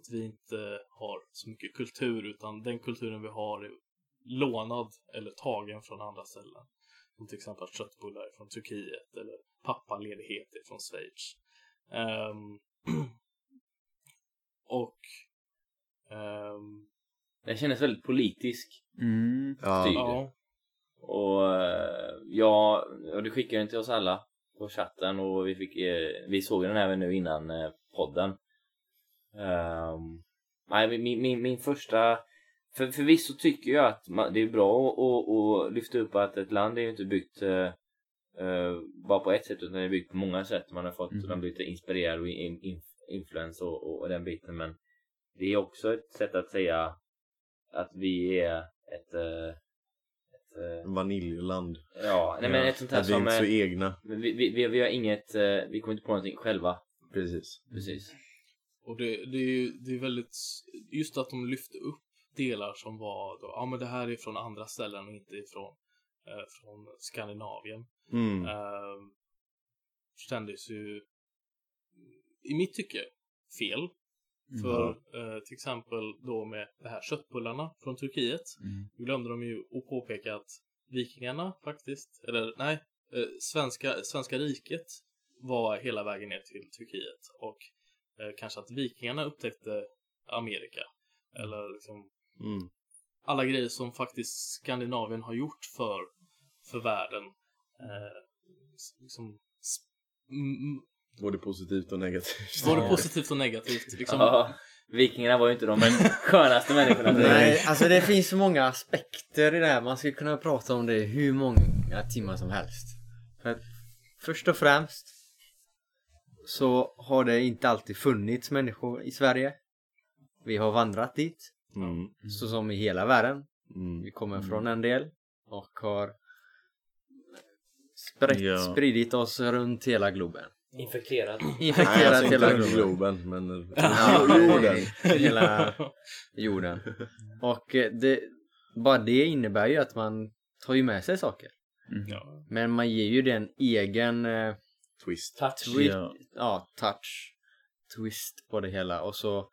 att vi inte har så mycket kultur utan den kulturen vi har är lånad eller tagen från andra ställen. Som till exempel att köttbullar är från Turkiet eller pappaledighet är från Schweiz. Ehm, och ehm,
Den kändes väldigt politisk.
Mm.
Ja.
Typ.
ja,
Och eh, ja, och det skickade den till oss alla på chatten och vi fick, eh, vi såg den även nu innan eh, podden. Ehm, nej, min- min, min, min första, för, förvisso tycker jag att man, det är bra att- att att lyfta upp att ett land är ju inte byggt eh, eh, bara på ett sätt utan det är byggt på många sätt. Man har fått,
Mhm.
de blir lite inspirerade och in, in, influens och, och, och den biten men det är också ett sätt att säga att vi är ett, eh, ett eh,
Vaniljland.
Ja, nej men ett sånt här
Att vi är
som...
inte så e-
eh,
egna.
Vi, vi, vi, vi har inget, eh, vi kommer inte på någonting själva.
Precis.
Precis.
och det, det är ju det är väldigt, just att de lyfte upp delar som var då, ja men det här är från andra ställen och inte ifrån eh, från Skandinavien.
Mm.
eh, kändes ju i mitt tycke fel. För eh, till exempel då med de här köttbullarna från Turkiet.
Mm.
Då glömde de ju att påpeka att vikingarna faktiskt, eller nej, eh, svenska, svenska riket var hela vägen ner till Turkiet och eh, kanske att vikingarna upptäckte Amerika. Eller liksom
Mm.
alla grejer som faktiskt Skandinavien har gjort för, för världen. Eh, s- liksom, s- m- m-
Både positivt och negativt.
både
Ja.
positivt och negativt. Liksom.
Ja, vikingarna var ju inte de skönaste människorna.
Nej, alltså det finns så många aspekter i det här. Man skulle kunna prata om det hur många timmar som helst. För att först och främst så har det inte alltid funnits människor i Sverige. Vi har vandrat dit,
Mm.
så som i hela världen.
Mm.
Vi kommer från en del och har sprätt,
Ja.
spridit oss runt hela globen.
Infekterat.
Infekterat
Nej, alltså
hela
inte
globen.
Globen, men...
Ja,
Jorden.
Hela
Mm.
jorden. Och eh, det, bara det innebär ju att man tar ju med sig saker.
Mm.
Ja.
Men man ger ju den egen eh,
Twist.
Touch.
twi-
Ja.
ja, touch, twist på det hela. Och så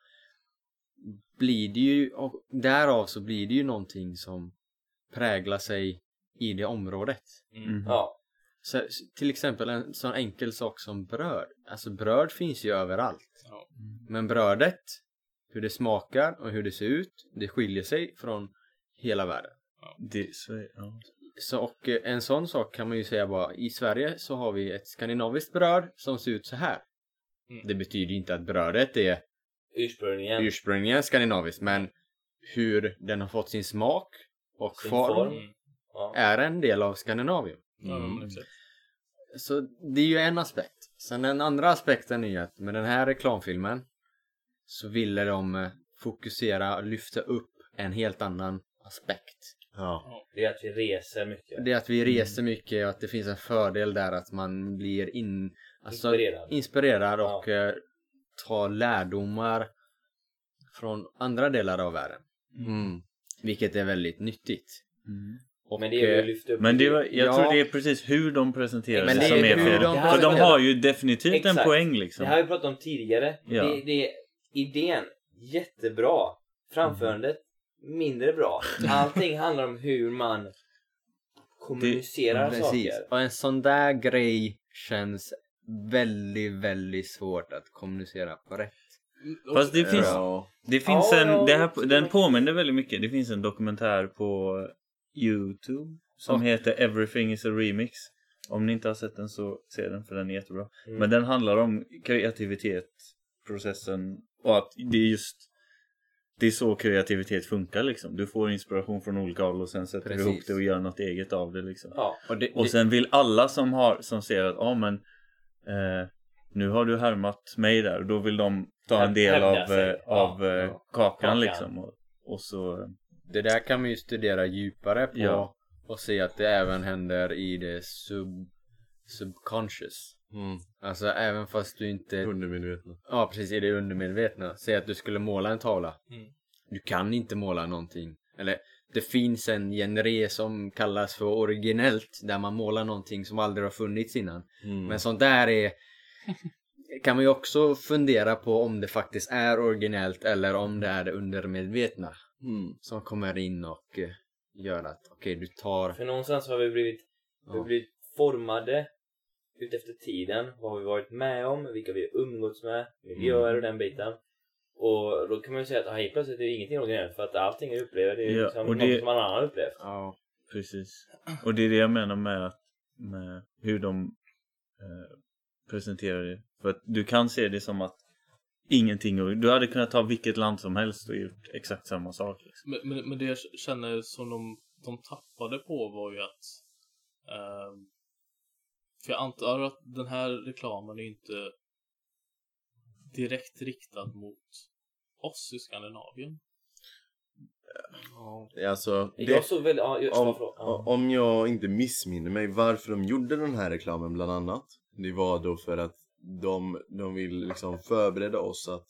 blir det ju, och därav så blir det ju någonting som präglar sig i det området.
Mm.
Ja.
Så, s- till exempel en sån enkel sak som bröd. Alltså bröd finns ju överallt.
Ja.
Men brödet, hur det smakar och hur det ser ut, det skiljer sig från hela världen.
Det, så, ja.
Så, och eh, en sån sak kan man ju säga bara, i Sverige så har vi ett skandinaviskt bröd som ser ut så här.
Mm.
Det betyder ju inte att brödet är
ursprungligen.
ursprungligen skandinaviskt men hur den har fått sin smak och
Sin
form,
form. ja.
är en del av Skandinavien.
Ja, men exakt.
Så det är ju en aspekt. Sen den andra aspekten är ju att med den här reklamfilmen så ville de eh, fokusera och lyfta upp en helt annan aspekt.
Ja.
Det är att vi reser mycket.
Det är att vi reser mycket och att det finns en fördel där att man blir in, alltså,
Inspirerad.
inspirerad och eh, tar lärdomar från andra delar av världen.
Mm.
Vilket är väldigt nyttigt.
Mm.
Och,
men det är
eh,
ju lyft upp
Men det var, jag
Ja.
tror det är precis hur de presenterar
Men
det
det är
som är
hur
fel.
de
För de
presenterar.
har ju definitivt en
Exakt.
poäng
Det
liksom.
här har vi pratat om tidigare.
Ja.
Det, det, idén, jättebra. Framförandet, mindre bra. Allting handlar om hur man kommunicerar
Precis.
saker.
Och en sån där grej känns väldigt, väldigt svårt att kommunicera på rätt.
Mm. Fast det finns,
Ja.
det finns
Ja,
en,
ja,
det här,
absolut.
den påminner väldigt mycket. Det finns en dokumentär på Youtube som
Ja.
heter Everything is a remix. Om ni inte har sett den så se den för den är jättebra.
Mm.
Men den handlar om kreativitet, processen och att det är just det är så kreativitet funkar liksom. Du får inspiration från olika håll och sen sätter
Precis.
du ihop det och gör något eget av det liksom.
Ja.
Och, det,
Och
det-
sen vill alla som, har, som ser att ah, men, eh, nu har du härmat mig där och då vill de ta en del
Hävda
av,
sig.
eh,
Ja,
av eh,
ja.
kakan,
Kakan.
liksom. Och, och så,
det där kan man ju studera djupare på
Ja.
och se att det även händer i det sub, subconscious.
Mm.
Alltså även fast du inte,
Undermedvetna.
ja precis i det undermedvetna. Säg att du skulle måla en tavla.
Mm.
Du kan inte måla någonting. Eller det finns en genre som kallas för originellt där man målar någonting som aldrig har funnits innan.
Mm.
Men sånt där är kan man ju också fundera på om det faktiskt är originellt eller om det är det undermedvetna
Mm.
som kommer in och eh, gör att okej du tar
För någonstans har vi blivit, vi har
ja,
blivit formade utefter tiden. Vad har vi varit med om? Vilka vi har umgåtts med? Miljöer och den biten. Och då kan man ju säga att ah, helt plötsligt är det ingenting originellt för att allting jag upplever det är
Ja,
ju liksom
och
något
det-
som någon annan har upplevt.
ja,
precis. Och det är det jag menar med, att, med hur de eh, presenterar det. För att du kan se det som att ingenting, du hade kunnat ta vilket land som helst och gjort exakt samma sak. Liksom.
Men, men, men det jag känner som de, de tappade på var ju att... ehm, för jag antar att den här reklamen är inte direkt riktad mot oss i Skandinavien.
Alltså,
Jag såg väl, ja, jag,
om,
förlåt. ja.
om jag inte missminner mig varför de gjorde den här reklamen bland annat. Det var då för att de, de vill liksom förbereda oss att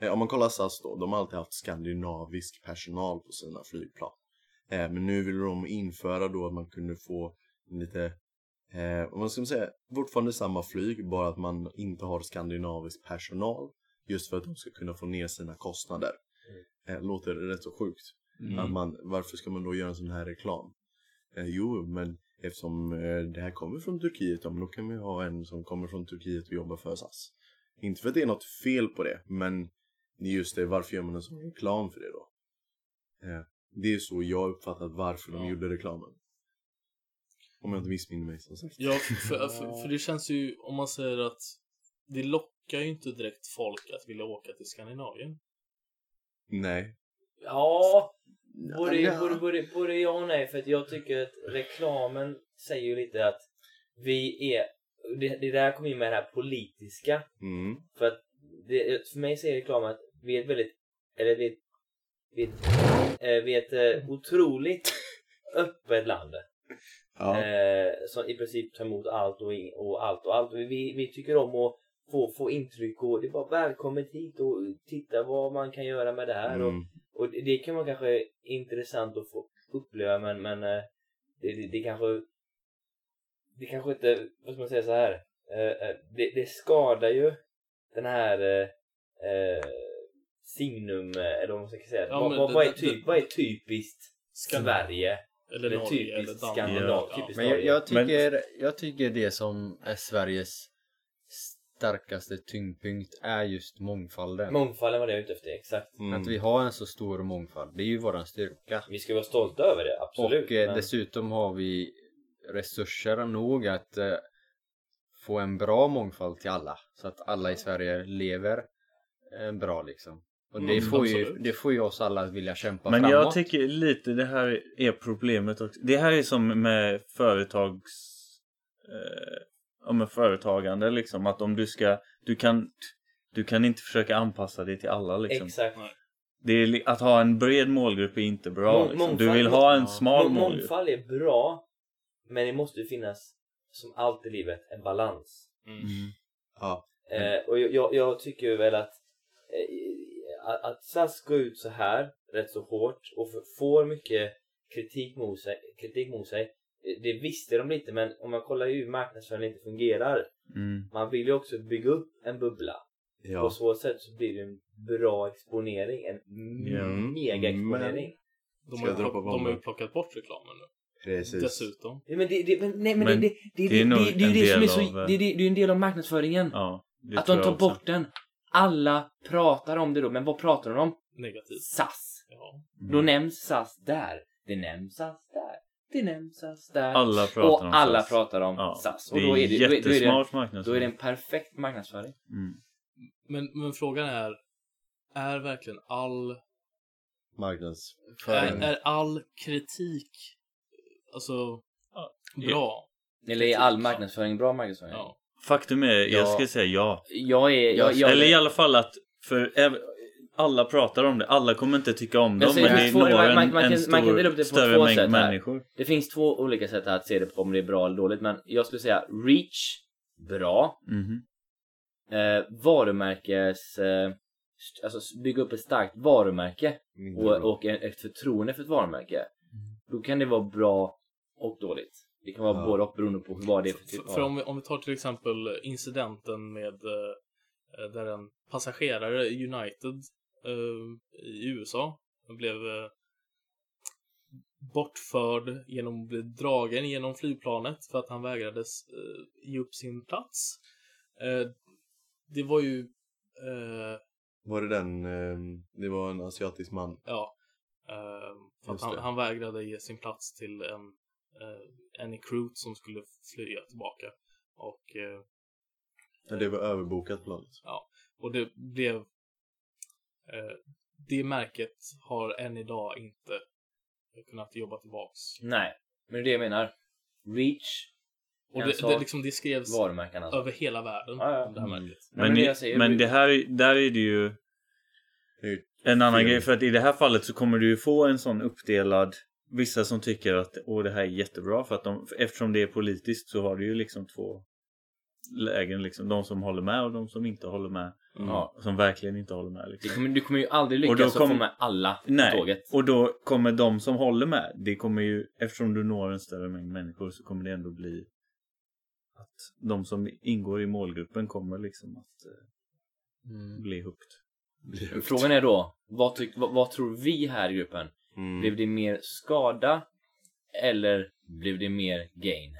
eh, om man kollar SAS då, de har alltid haft skandinavisk personal på sina flygplan. Eh, men nu vill de införa då att man kunde få lite, eh, vad ska man säga, fortfarande samma flyg bara att man inte har skandinavisk personal. Just för att de ska kunna få ner sina kostnader.
Mm.
Eh, låter rätt så sjukt. Att
Mm.
man, varför ska man då göra en sån här reklam? Eh, jo, men eftersom eh, det här kommer från Turkiet, ja, men då kan vi ha en som kommer från Turkiet och jobbar för SAS. Inte för att det är något fel på det, men det är just det, varför gör man en sån reklam för det då? Eh, det är så jag uppfattat varför de
Ja.
gjorde reklamen. Om jag inte missminner mig som sagt.
Ja, för, för, för det känns ju, om man säger att det lockar ju inte direkt folk att vilja åka till Skandinavien.
Nej.
Ja, både,
Ja.
både, både, både ja och nej. För att jag tycker att reklamen säger ju lite att vi är... Det, det där kommer in med det här politiska.
Mm.
För att det, för mig säger reklamen att vi är ett väldigt... Eller vi är ett, vi är ett, eh, vi är ett eh, otroligt öppet land.
Ja.
Eh, som i princip tar emot allt och, in, och allt och allt. Vi, vi tycker om att få, få intryck och det är bara välkommen hit och titta vad man kan göra med det här. Och,
Mm.
och det- det kan vara kanske intressant att få uppleva men, men eh, det, det, det kanske det kanske inte, vad ska man säga så här eh, eh, det, det skadar ju den här eh, eh, signum, eh, eller vad man ska säga
Ja,
vad,
men
vad,
det-
vad, är
det-
typ,
det-
vad är typiskt
Skandin-
Sverige?
Eller
Det är
Norge,
typiskt
eller Danmark.
Skandinav,
Ja.
typiskt
men jag,
Norge.
jag,
Men-
tycker, jag tycker det som är Sveriges starkaste tyngdpunkt är just mångfalden
Mångfalden var det jag var ute efter, exakt.
Mm.
att vi har en så stor mångfald det är ju våran styrka
Vi ska vara stolta över det, absolut.
och eh,
men-
dessutom har vi resurser nog att eh, få en bra mångfald till alla så att alla i Sverige lever eh, bra liksom. Och
Mm,
det får, ju,
absolut.
det får ju oss alla att vilja kämpa
Men
framåt.
jag tycker lite det här är problemet också. Det här är som med företags... Eh, ja, med företagande liksom. Att om du ska... Du kan, du kan inte försöka anpassa dig till alla liksom.
Exakt.
Det är, li- att ha en bred målgrupp är inte bra.
Mång-
Liksom. Du
mångfald-
vill ha
ja.
en smal
Mång-
målgrupp.
Mångfald är bra, men det måste ju finnas, som allt i livet, en balans.
Mm.
Mm. Ja.
Mm.
Eh, och jag, jag, jag tycker ju väl att, eh, att, att SAS går ut så här rätt så hårt och f- får mycket kritik mot sig. Kritik mot sig. eh, Det visste de lite, men om man kollar hur marknadsföringen inte fungerar.
Mm.
Man vill ju också bygga upp en bubbla. På
ja.
så sätt så blir det en bra exponering. En
Ja.
Mm.
mega-exponering.
De
Ska
har, ju
jag droppa
plock, de har ju
bomben?
plockat bort reklamen nu.
Precis.
Dessutom.
Ja, Men det, det, men, nej, men,
Men
det, det, det,
det är nog
det, det är ju
en
det som är
del
så...
av, eh,
Det, det, det är ju en del av marknadsföringen.
Ja, det
att
tror
de
jag
tar
också.
bort den. Alla pratar om det då, men vad pratar de om?
Negativt.
SAS.
Ja.
Mm.
Då nämns SAS där. Det nämns SAS där. Det nämns SAS där.
Alla pratar
och
om SAS.
alla pratar om SAS. Och
det är
då är det, då är- då är
jättesmart
det, då är det
marknadsföring.
en perfekt marknadsföring.
Mm.
Men, men frågan är, är verkligen all,
Marknads.
är,
Föring.
är all kritik alltså
Ja.
bra?
Eller är all marknadsföring bra marknadsföring?
Ja.
Faktum är, jag
Ja.
skulle säga ja.
Jag är... Jag, jag,
Eller i alla fall att för ev- alla pratar om det. Alla kommer inte tycka om
Jag
dem
säger
men
det
det
två-
når
man-
en,
man kan-
en
man kan dela upp
stor,
det på
större
två
mängd
sätt här.
människor.
Det finns två olika sätt att se det på, om det är bra eller dåligt. Men jag skulle säga reach, bra.
Mhm.
Eh, varumärkes... Eh, st- alltså s- bygga upp ett starkt varumärke
Mindre
och,
bra.
och en- ett förtroende för ett varumärke. Då kan det vara bra och dåligt. Det kan vara
Ja.
både och beroende på vad det är för typ
För,
av...
för om, vi, om vi tar till exempel incidenten med eh, där en passagerare i United eh, i USA blev eh, bortförd genom att bli dragen genom flygplanet för att han vägrade eh, ge upp sin plats. Eh, det var ju eh,
Var det den, ehm, det var en asiatisk man.
Ja. Eh, för att
Just
han,
det.
han vägrade ge sin plats till en, eh, en i crewet som skulle flyga tillbaka. Och, eh,
Ja, det var överbokat planet.
och det blev... Eh, det märket har än idag inte kunnat jobba tillbaks.
Nej, men det är det jag menar. Reach,
Och
En
det,
sak
det, liksom, det skrevs
varumärken alltså.
över hela världen.
Ja, ja.
om Det här
Mm.
märket.
Nej, men
Men,
det
i-
jag säger-
men det här, är- där är det ju
Det är ju-
en annan
Fel.
grej. För att i det här fallet så kommer du ju få en sån uppdelad Vissa som tycker att Åh, det här är jättebra för att de, eftersom det är politiskt så har du ju liksom två lägen liksom. De som håller med och de som inte håller med.
Ja.
Som verkligen inte håller med.
Mm. Det
Liksom.
kommer, du kommer ju aldrig
Och då
lyckas att få
kom-
med alla på
Nej,
tåget.
och då kommer de som håller med, det kommer ju, eftersom du når en större mängd människor så kommer det ändå bli att de som ingår i målgruppen kommer liksom att eh, bli hooked.
Frågan är då, vad, tyck, vad, vad tror vi här i gruppen? Blev
Mm.
det mer skada eller blev det mer gain?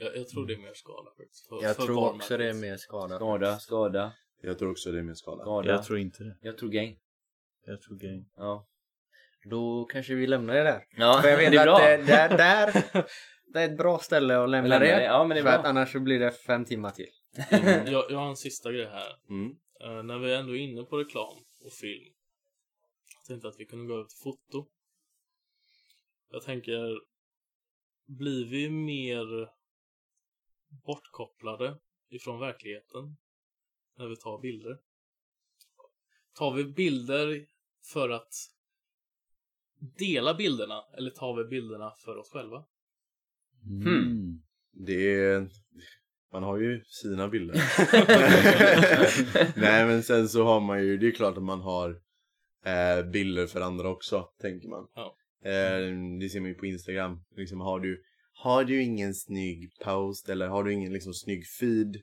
Jag, jag tror det är mer skala faktiskt. För,
Jag
för
tror också
varumärket.
det är mer skada.
Skada, skada,
Jag tror också det är min skala.
skada.
Jag tror inte det.
jag tror gain.
Jag tror game.
Ja.
Då kanske vi lämnar det där.
Ja,
För jag
det
vet
är bra.
att eh, det, där, där, det är ett bra ställe att lämna
Lämna det.
det.
Ja, men det är
för
bra.
att annars så blir det fem timmar till.
Jag, jag har en sista grej här.
Mm.
Eh, när vi ändå är inne på reklam och film. Jag tänkte att vi kunde gå över till foto. Jag tänker, blir vi mer bortkopplade ifrån verkligheten när vi tar bilder? Tar vi bilder för att dela bilderna eller tar vi bilderna för oss själva?
Hmm.
Det är... Man har ju sina bilder. Nej men sen så har man ju, det är klart att man har eh, bilder för andra också, tänker man.
Ja.
Eh, det ser man ju på Instagram. Liksom, har, du, har du ingen snygg post eller har du ingen liksom, snygg feed,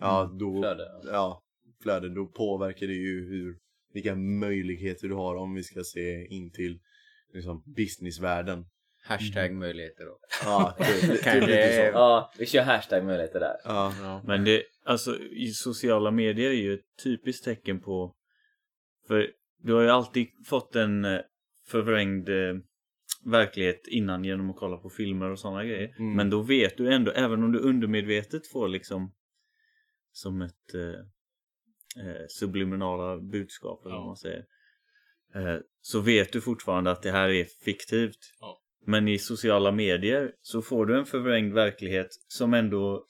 ja, då,
Flöde.
Ja, flöde, då påverkar det ju hur, vilka möjligheter du har om vi ska se in till liksom, businessvärlden.
Hashtag
Mm.
möjligheter då.
Ja, typ, typ lite
Kanske-
så.
Ja, vi kör hashtag möjligheter där.
Ja,
Men det, alltså i sociala medier är ju ett typiskt tecken på För du har ju alltid fått en eh, förvrängd eh, verklighet innan genom att kolla på filmer och sådana grejer
Mm.
Men då vet du ändå, även om du undermedvetet får liksom Som ett eh, eh, subliminala budskap eller
Ja.
vad man säger. Eh, så vet du fortfarande att det här är fiktivt.
Ja.
Men i sociala medier så får du en förvrängd verklighet som ändå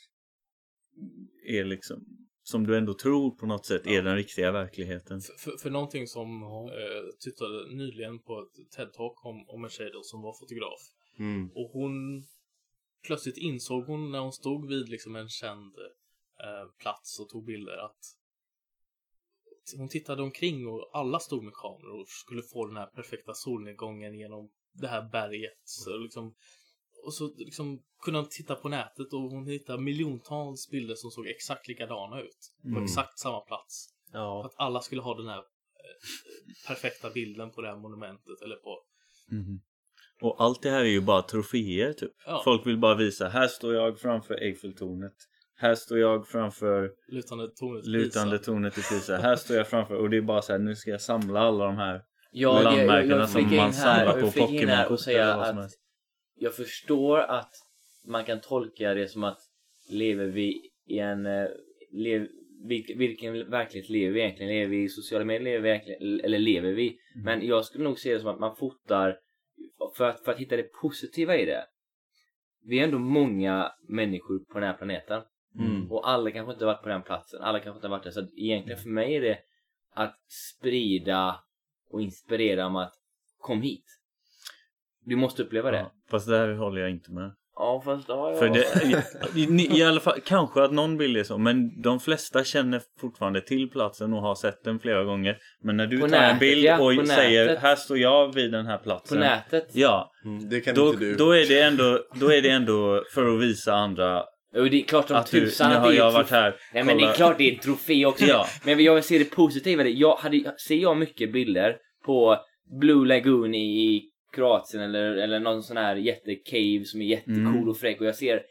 är liksom som du ändå tror på något sätt är den riktiga verkligheten.
För, för, för någonting som eh, tittade nyligen på ett TED-talk om, om en tjej då som var fotograf.
Mm.
Och hon plötsligt insåg hon när hon stod vid liksom en känd eh, plats och tog bilder att hon tittade omkring och alla stod med kameror och skulle få den här perfekta solnedgången genom det här berget. Så liksom, och så liksom kunde hon titta på nätet och hon hittade miljontals bilder som såg exakt likadana ut. På
Mm.
exakt samma plats.
Ja.
Att alla skulle ha den här eh, perfekta bilden på det här monumentet eller på...
Mhm. Och allt det här är ju bara troféer typ.
Ja.
Folk vill bara visa, här står jag framför Eiffeltornet. Här står jag framför
Lutande tornet.
lutande
Pisa.
tornet i Pisa. Här står jag framför och det är bara så här, nu ska jag samla alla de här.
Jag, jag, jag,
Landmärkena
jag
som
flika
man
in
samlar
här,
på
jag flika in här
Pokémon-kort
och säga
eller vad som
att
helst.
jag förstår att man kan tolka det som att lever vi i en... eh, Lev, vilken, vilken verklighet lever vi egentligen? Lever vi i sociala medier? Lever vi egentligen, eller lever
Mm.
vi? Men jag skulle nog se det som att man fotar för att, för att hitta det positiva i det. Vi är ändå många människor på den här planeten.
Mm.
Och alla kanske inte har varit på den platsen. Alla kanske inte har varit där. Så att egentligen för mig är det att sprida och inspirera om att kom hit. Du måste uppleva det.
Ja, fast där håller jag inte med.
Ja fast ja, ja.
För det, i, i, I alla fall kanske att någon bild är så men de flesta känner fortfarande till platsen och har sett den flera gånger. Men när du
På
tar en
nätet,
bild
ja, på
och säger
nätet.
här står jag vid den här
På
platsen.
nätet.
Ja,
Mm. Det kan
då,
inte du.
då, är det ändå, då är det ändå för att visa andra
Och det är klart som
att du, nu
tusan att
har
det är
jag
ett
varit
trofé.
här.
Nej men det är
kolla.
klart det är ett trofé också.
Ja.
Men jag vill se det positiva i det. Jag hade, ser jag mycket bilder på Blue Lagoon i, i Kroatien eller, eller någon sån här jättecave som är jättecool
Mm.
och fräck och jag ser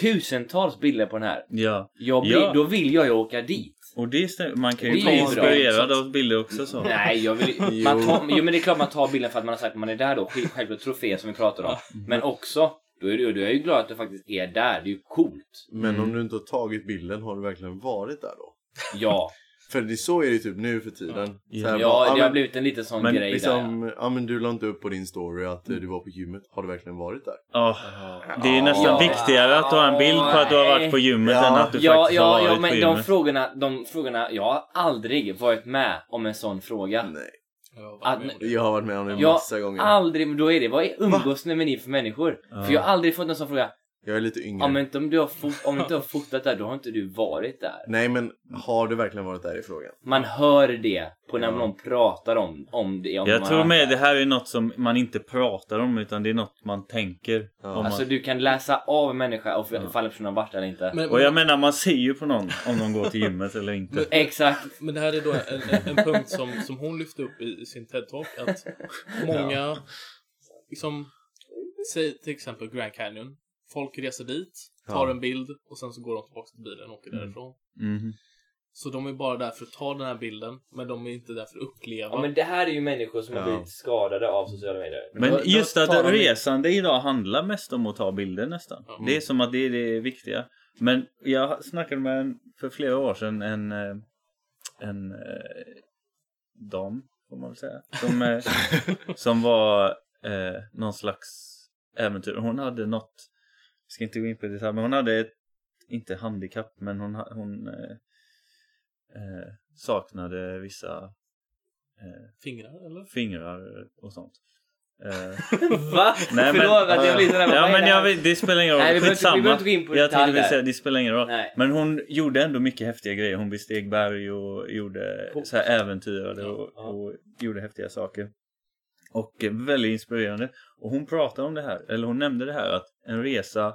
tusentals bilder på den här.
Ja.
Jag blir,
Ja.
Då vill jag ju åka dit.
Och det stämmer. Man kan
Och
ju
det
bli
är ju bra.
inspirerad av bilder också så.
Nej, jag vill, man tar, jo, men det är klart man tar bilden för att man har sagt att man är där då. Sk- Självklart trofé som vi pratar om. Men också, då är, du, då är jag ju glad att du faktiskt är där. Det är ju coolt.
Men om du inte har tagit bilden, har du verkligen varit där då?
Ja,
För det, så är det typ nu för tiden.
Ja.
Så här, bara, "Ah,
ja det har
men-
blivit en liten sån
men
grej där.
Liksom, ja. men du la inte upp på din story att eh, du var på gymmet. Har du verkligen varit där?
Ja, det är nästan
Ja.
viktigare att ha en bild på att du har varit på gymmet
Ja.
än att du
Ja,
faktiskt har
ja,
varit
ja,
på
men de
gymmet.
frågorna, de frågorna, jag har aldrig varit med om en sån fråga.
Mm,
Nej.
Ja,
Att-
vad menar du?
Jag har varit med om det
Jag
massa gånger.
aldrig, men då är det, vad är umgås ni med ni för människor?
Ja.
För jag har aldrig fått någon sån fråga,
Jag är lite yngre.
ja men om du har, fot- om du inte har fotat där, då har inte du varit där.
Nej men har du verkligen varit där i frågan?
Man hör det på när
Ja.
någon pratar om, om det. Om eh,
Jag
man
tror med det här är något som man inte pratar om utan det är något man tänker.
Ja.
om man...
Alltså du kan läsa av en människa och ja. ifall en person har varit där eller inte.
Men,
Och jag menar man ser ju på någon om de går till gymmet eller inte.
Exakt.
men det här är då en, en, en punkt som, som hon lyfte upp i, i sin TED-talk. Att många, liksom, säg till exempel Grand Canyon. Folk reser dit, tar
Ja.
en bild och sen så går de tillbaka till bilen och åker
Mm.
därifrån.
Mhm.
Så de är bara där för att ta den här bilden, men de är inte där för att uppleva.
Ja, men
det...
det här är ju människor som
Ja.
har blivit skadade av sociala medier.
Men
Då- då
just
tar
att
de-
resande idag handlar mest om att ta bilder nästan.
Ja.
Det är som att det är det viktiga. Men jag snackade med en, för flera år sedan en, eh, en eh, dam, får man väl säga, som, eh, som var eh, någon slags äventyr. Hon hade något, jag ska inte gå in på det här, men hon hade ett, inte handikapp, men hon, ha- hon eh, eh, saknade vissa
Fingrar eller?
fingrar och sånt. Eh,
Va?
Nej, men-
Förlåt att jag blir sådär.
Ja
vad är
men
det
jag
här?
vet, det spelar ingen roll.
Nej, vi behöver inte-
Skitsamma.
vi behöver inte gå in på
jag tänkte
detaljer.
väl säga, det spelar ingen roll.
Nej.
Men hon gjorde ändå mycket häftiga grejer. Hon besteg berg och gjorde så här äventyrade och,
Ja.
och gjorde häftiga saker. Och eh, väldigt inspirerande. Och hon pratade om det här, eller hon nämnde det här att en resa,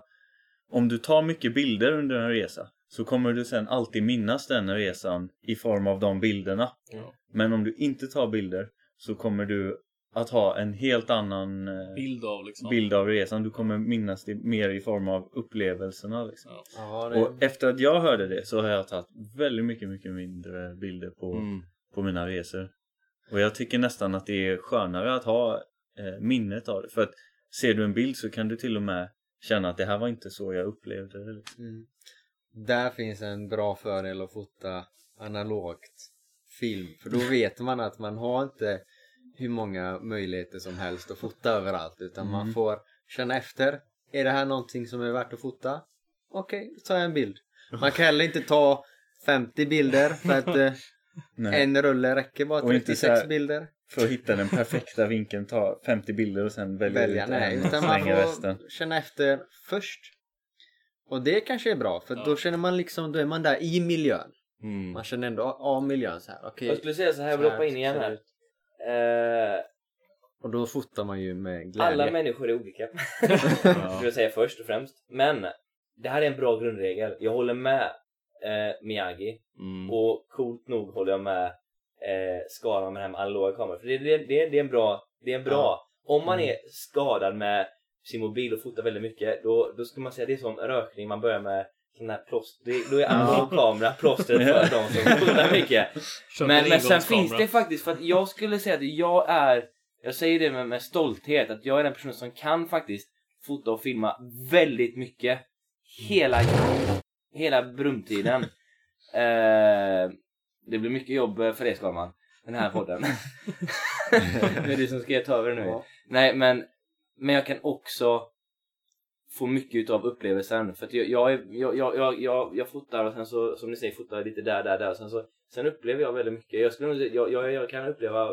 om du tar mycket bilder under en resa så kommer du sen alltid minnas den resan i form av de bilderna.
Ja.
Men om du inte tar bilder så kommer du att ha en helt annan eh,
Bild av liksom.
bild av resan. Du kommer minnas det mer i form av upplevelserna. Liksom.
Ja.
Ja, det...
Och efter att jag hörde det så har jag tagit väldigt mycket, mycket mindre bilder på,
Mm.
på mina resor. Och jag tycker nästan att det är skönare att ha eh, minnet av det. För att
mm.
ser du en bild så kan du till och med känna att det här var inte så jag upplevde det. Liksom.
Där finns en bra fördel att fota analogt film. För då vet man att man har inte hur många möjligheter som helst att fota överallt. Utan
Mm.
man får känna efter. Är det här någonting som är värt att fota? Okej, då tar jag en bild. Man kan heller inte ta 50 bilder för att eh,
Nej.
en rulle räcker bara
Och inte
36
så här-
bilder.
För att hitta den perfekta vinkeln, ta 50 bilder och sen välja,
välja.
ut
Nej,
en och
utan man
slänga
får
resten.
känna efter först. Och det kanske är bra för då känner man liksom, då är man där i miljön.
Mm.
Man känner ändå av miljön så här. Okej.
Jag skulle säga så här, jag
så
vill hoppa in igen
ser det
här.
ut.
Eh,
Och då fotar man ju med glädje.
alla människor är olika. skulle jag säga först och främst. Men det här är en bra grundregel. Jag håller med eh, Miyagi
Mm.
och coolt nog håller jag med eh, Skara med den här med analoga kameror. För det, det, det, det är en bra... Det är en bra Om man är skadad med sin mobil och fotar väldigt mycket då, då skulle man säga det är som rökning, man börjar med sån här plåster. Det- Då är analog kamera plåstret
Ja.
för de som fotar mycket.
Köp
Men,
en
men sen
engångskamera.
finns det faktiskt, för att jag skulle säga att jag är, jag säger det med, med stolthet, att jag är den personen som kan faktiskt fota och filma väldigt mycket. Hela, hela brumtiden. eh, det blir mycket jobb för dig Skalman, den här podden. det är du som ska ta över nu.
Ja.
Nej men, men jag kan också få mycket av upplevelsen. För att jag, jag, är- jag, jag, jag, jag, jag fotar och sen så, som ni säger, fotar lite där, där, där. Sen, så, sen upplever jag väldigt mycket. Jag, skulle, nog säga- jag, jag, jag kan uppleva...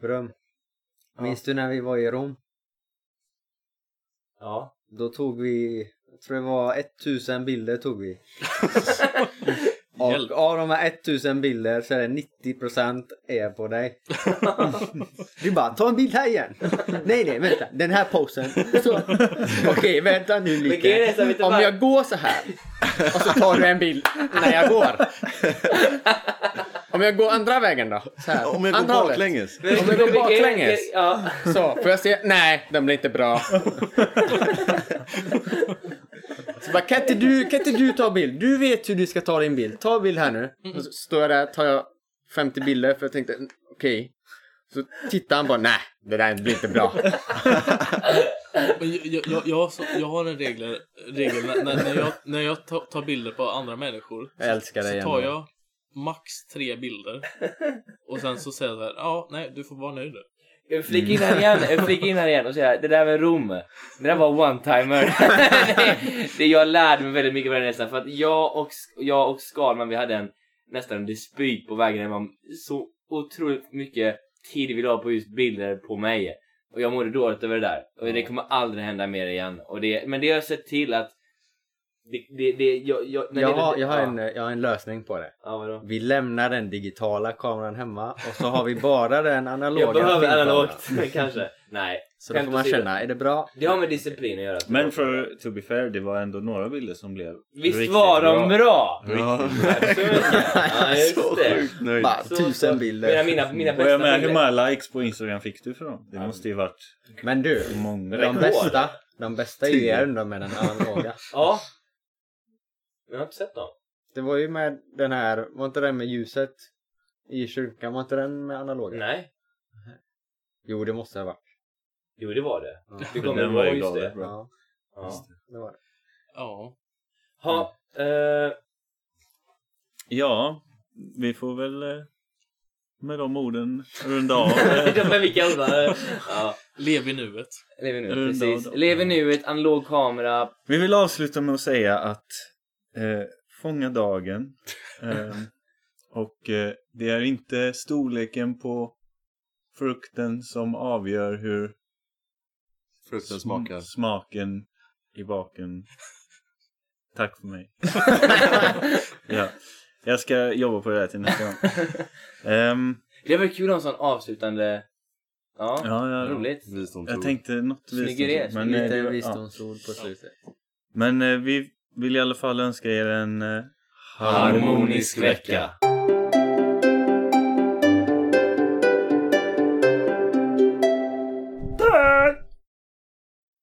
Brum. Minns du när vi var i Rom?
Ja.
Då tog vi, jag tror det var 1000 bilder tog vi. Och
Hjälp.
av de här 1000 bilder så är det 90% är på dig. Du bara ta en bild här igen. Nej nej vänta den här posen. Så. Okej vänta nu
Men grejen är så här, vet
lite.
du
Om
vad?
jag går så här och så tar du en bild när jag går. Om jag går andra vägen då? Så här.
Om jag går
andra hållet.
baklänges.
Om jag går baklänges.
Ja.
Så, får jag se? Nej, den blir inte bra. Så bara, kan inte, du, kan inte du ta bild? Du vet hur du ska ta din bild. Ta bild här nu. Och så står jag där, tar jag 50 bilder för jag tänkte, mm, okej. Så tittar han bara, nej, det där blir inte bra.
Men jag, jag, jag, jag, har så, jag har en regel, regel när, när, när jag, när jag ta- tar bilder på andra människor
Jag älskar dig
så tar
ändå.
jag max tre bilder och sen så säger jag så här, ja, nej, du får vara nöjd nu.
Jag flikar in här igen, jag flikar in här igen och säger det där med Rom, det där var one-timer. det, det jag lärde mig väldigt mycket på den resan för att jag och, jag och Skalman vi hade en, nästan en dispyt på vägen hem om så otroligt mycket tid vi la på just bilder på mig. Och jag mådde dåligt över det där och det kommer aldrig hända mer igen. Och det, men det har jag sett till att det, det, det, jag, jag, när
Jag
det-
har, jag, har
ja.
en, jag har en lösning på det.
Ja, vadå?
Vi lämnar den digitala kameran hemma och så har vi bara den analoga.
Jag behöver
filmkameran.
analogt kanske. Nej.
Så då får
Skämt
man
åsido.
känna, är det bra?
Det har med disciplin att göra.
Men för to be fair, det var ändå några bilder som blev
Visst
riktigt
var de
bra.
bra?
Ja.
Tack så mycket. Ja,
Så
just det.
sjukt nöjd.
Bara
Så-
tusen
Mina,
bilder.
mina, mina
Och
bästa
jag menar, hur
bilder.
många likes på Instagram fick du för dem? Det måste ju varit
Men du,
många.
de
Rekord.
bästa, de bästa är ju ändå med den analoga.
Ja. Men jag har inte sett dem.
Det var ju med den här, var inte den med ljuset i kyrkan, var inte den med analoga?
Nej.
Jo det måste det ha varit.
Jo, det var det.
Ja.
Du kommer
Den var ju
ihåg just
galet
det.
bra.
Ja,
Ja.
det var det.
Ja,
Ha, eh,
Ja, vi får väl eh, med de orden runda av. eh,
de är vilka elva. Ja.
lev i nuet.
Lev i nuet,
Runda
precis.
av dem.
Lev i nuet, analog kamera.
Vi vill avsluta med att säga att eh, fånga dagen. Eh, och eh, det är inte storleken på frukten som avgör hur
Frukten smakar.
sm- smaken i baken. Tack för mig. ja. Jag ska jobba på det här till nästa gång. Ehm,
Det var kul att ha en sån avslutande... Ja,
ja, jag,
roligt.
jag
Visdomsord.
tänkte något
Snygg
visdomsord,
idé,
men,
snygg
eh,
Lite
det- ja.
visdomsord på slutet.
Men eh, vi vill i alla fall önska er en eh,
Harmonisk vecka.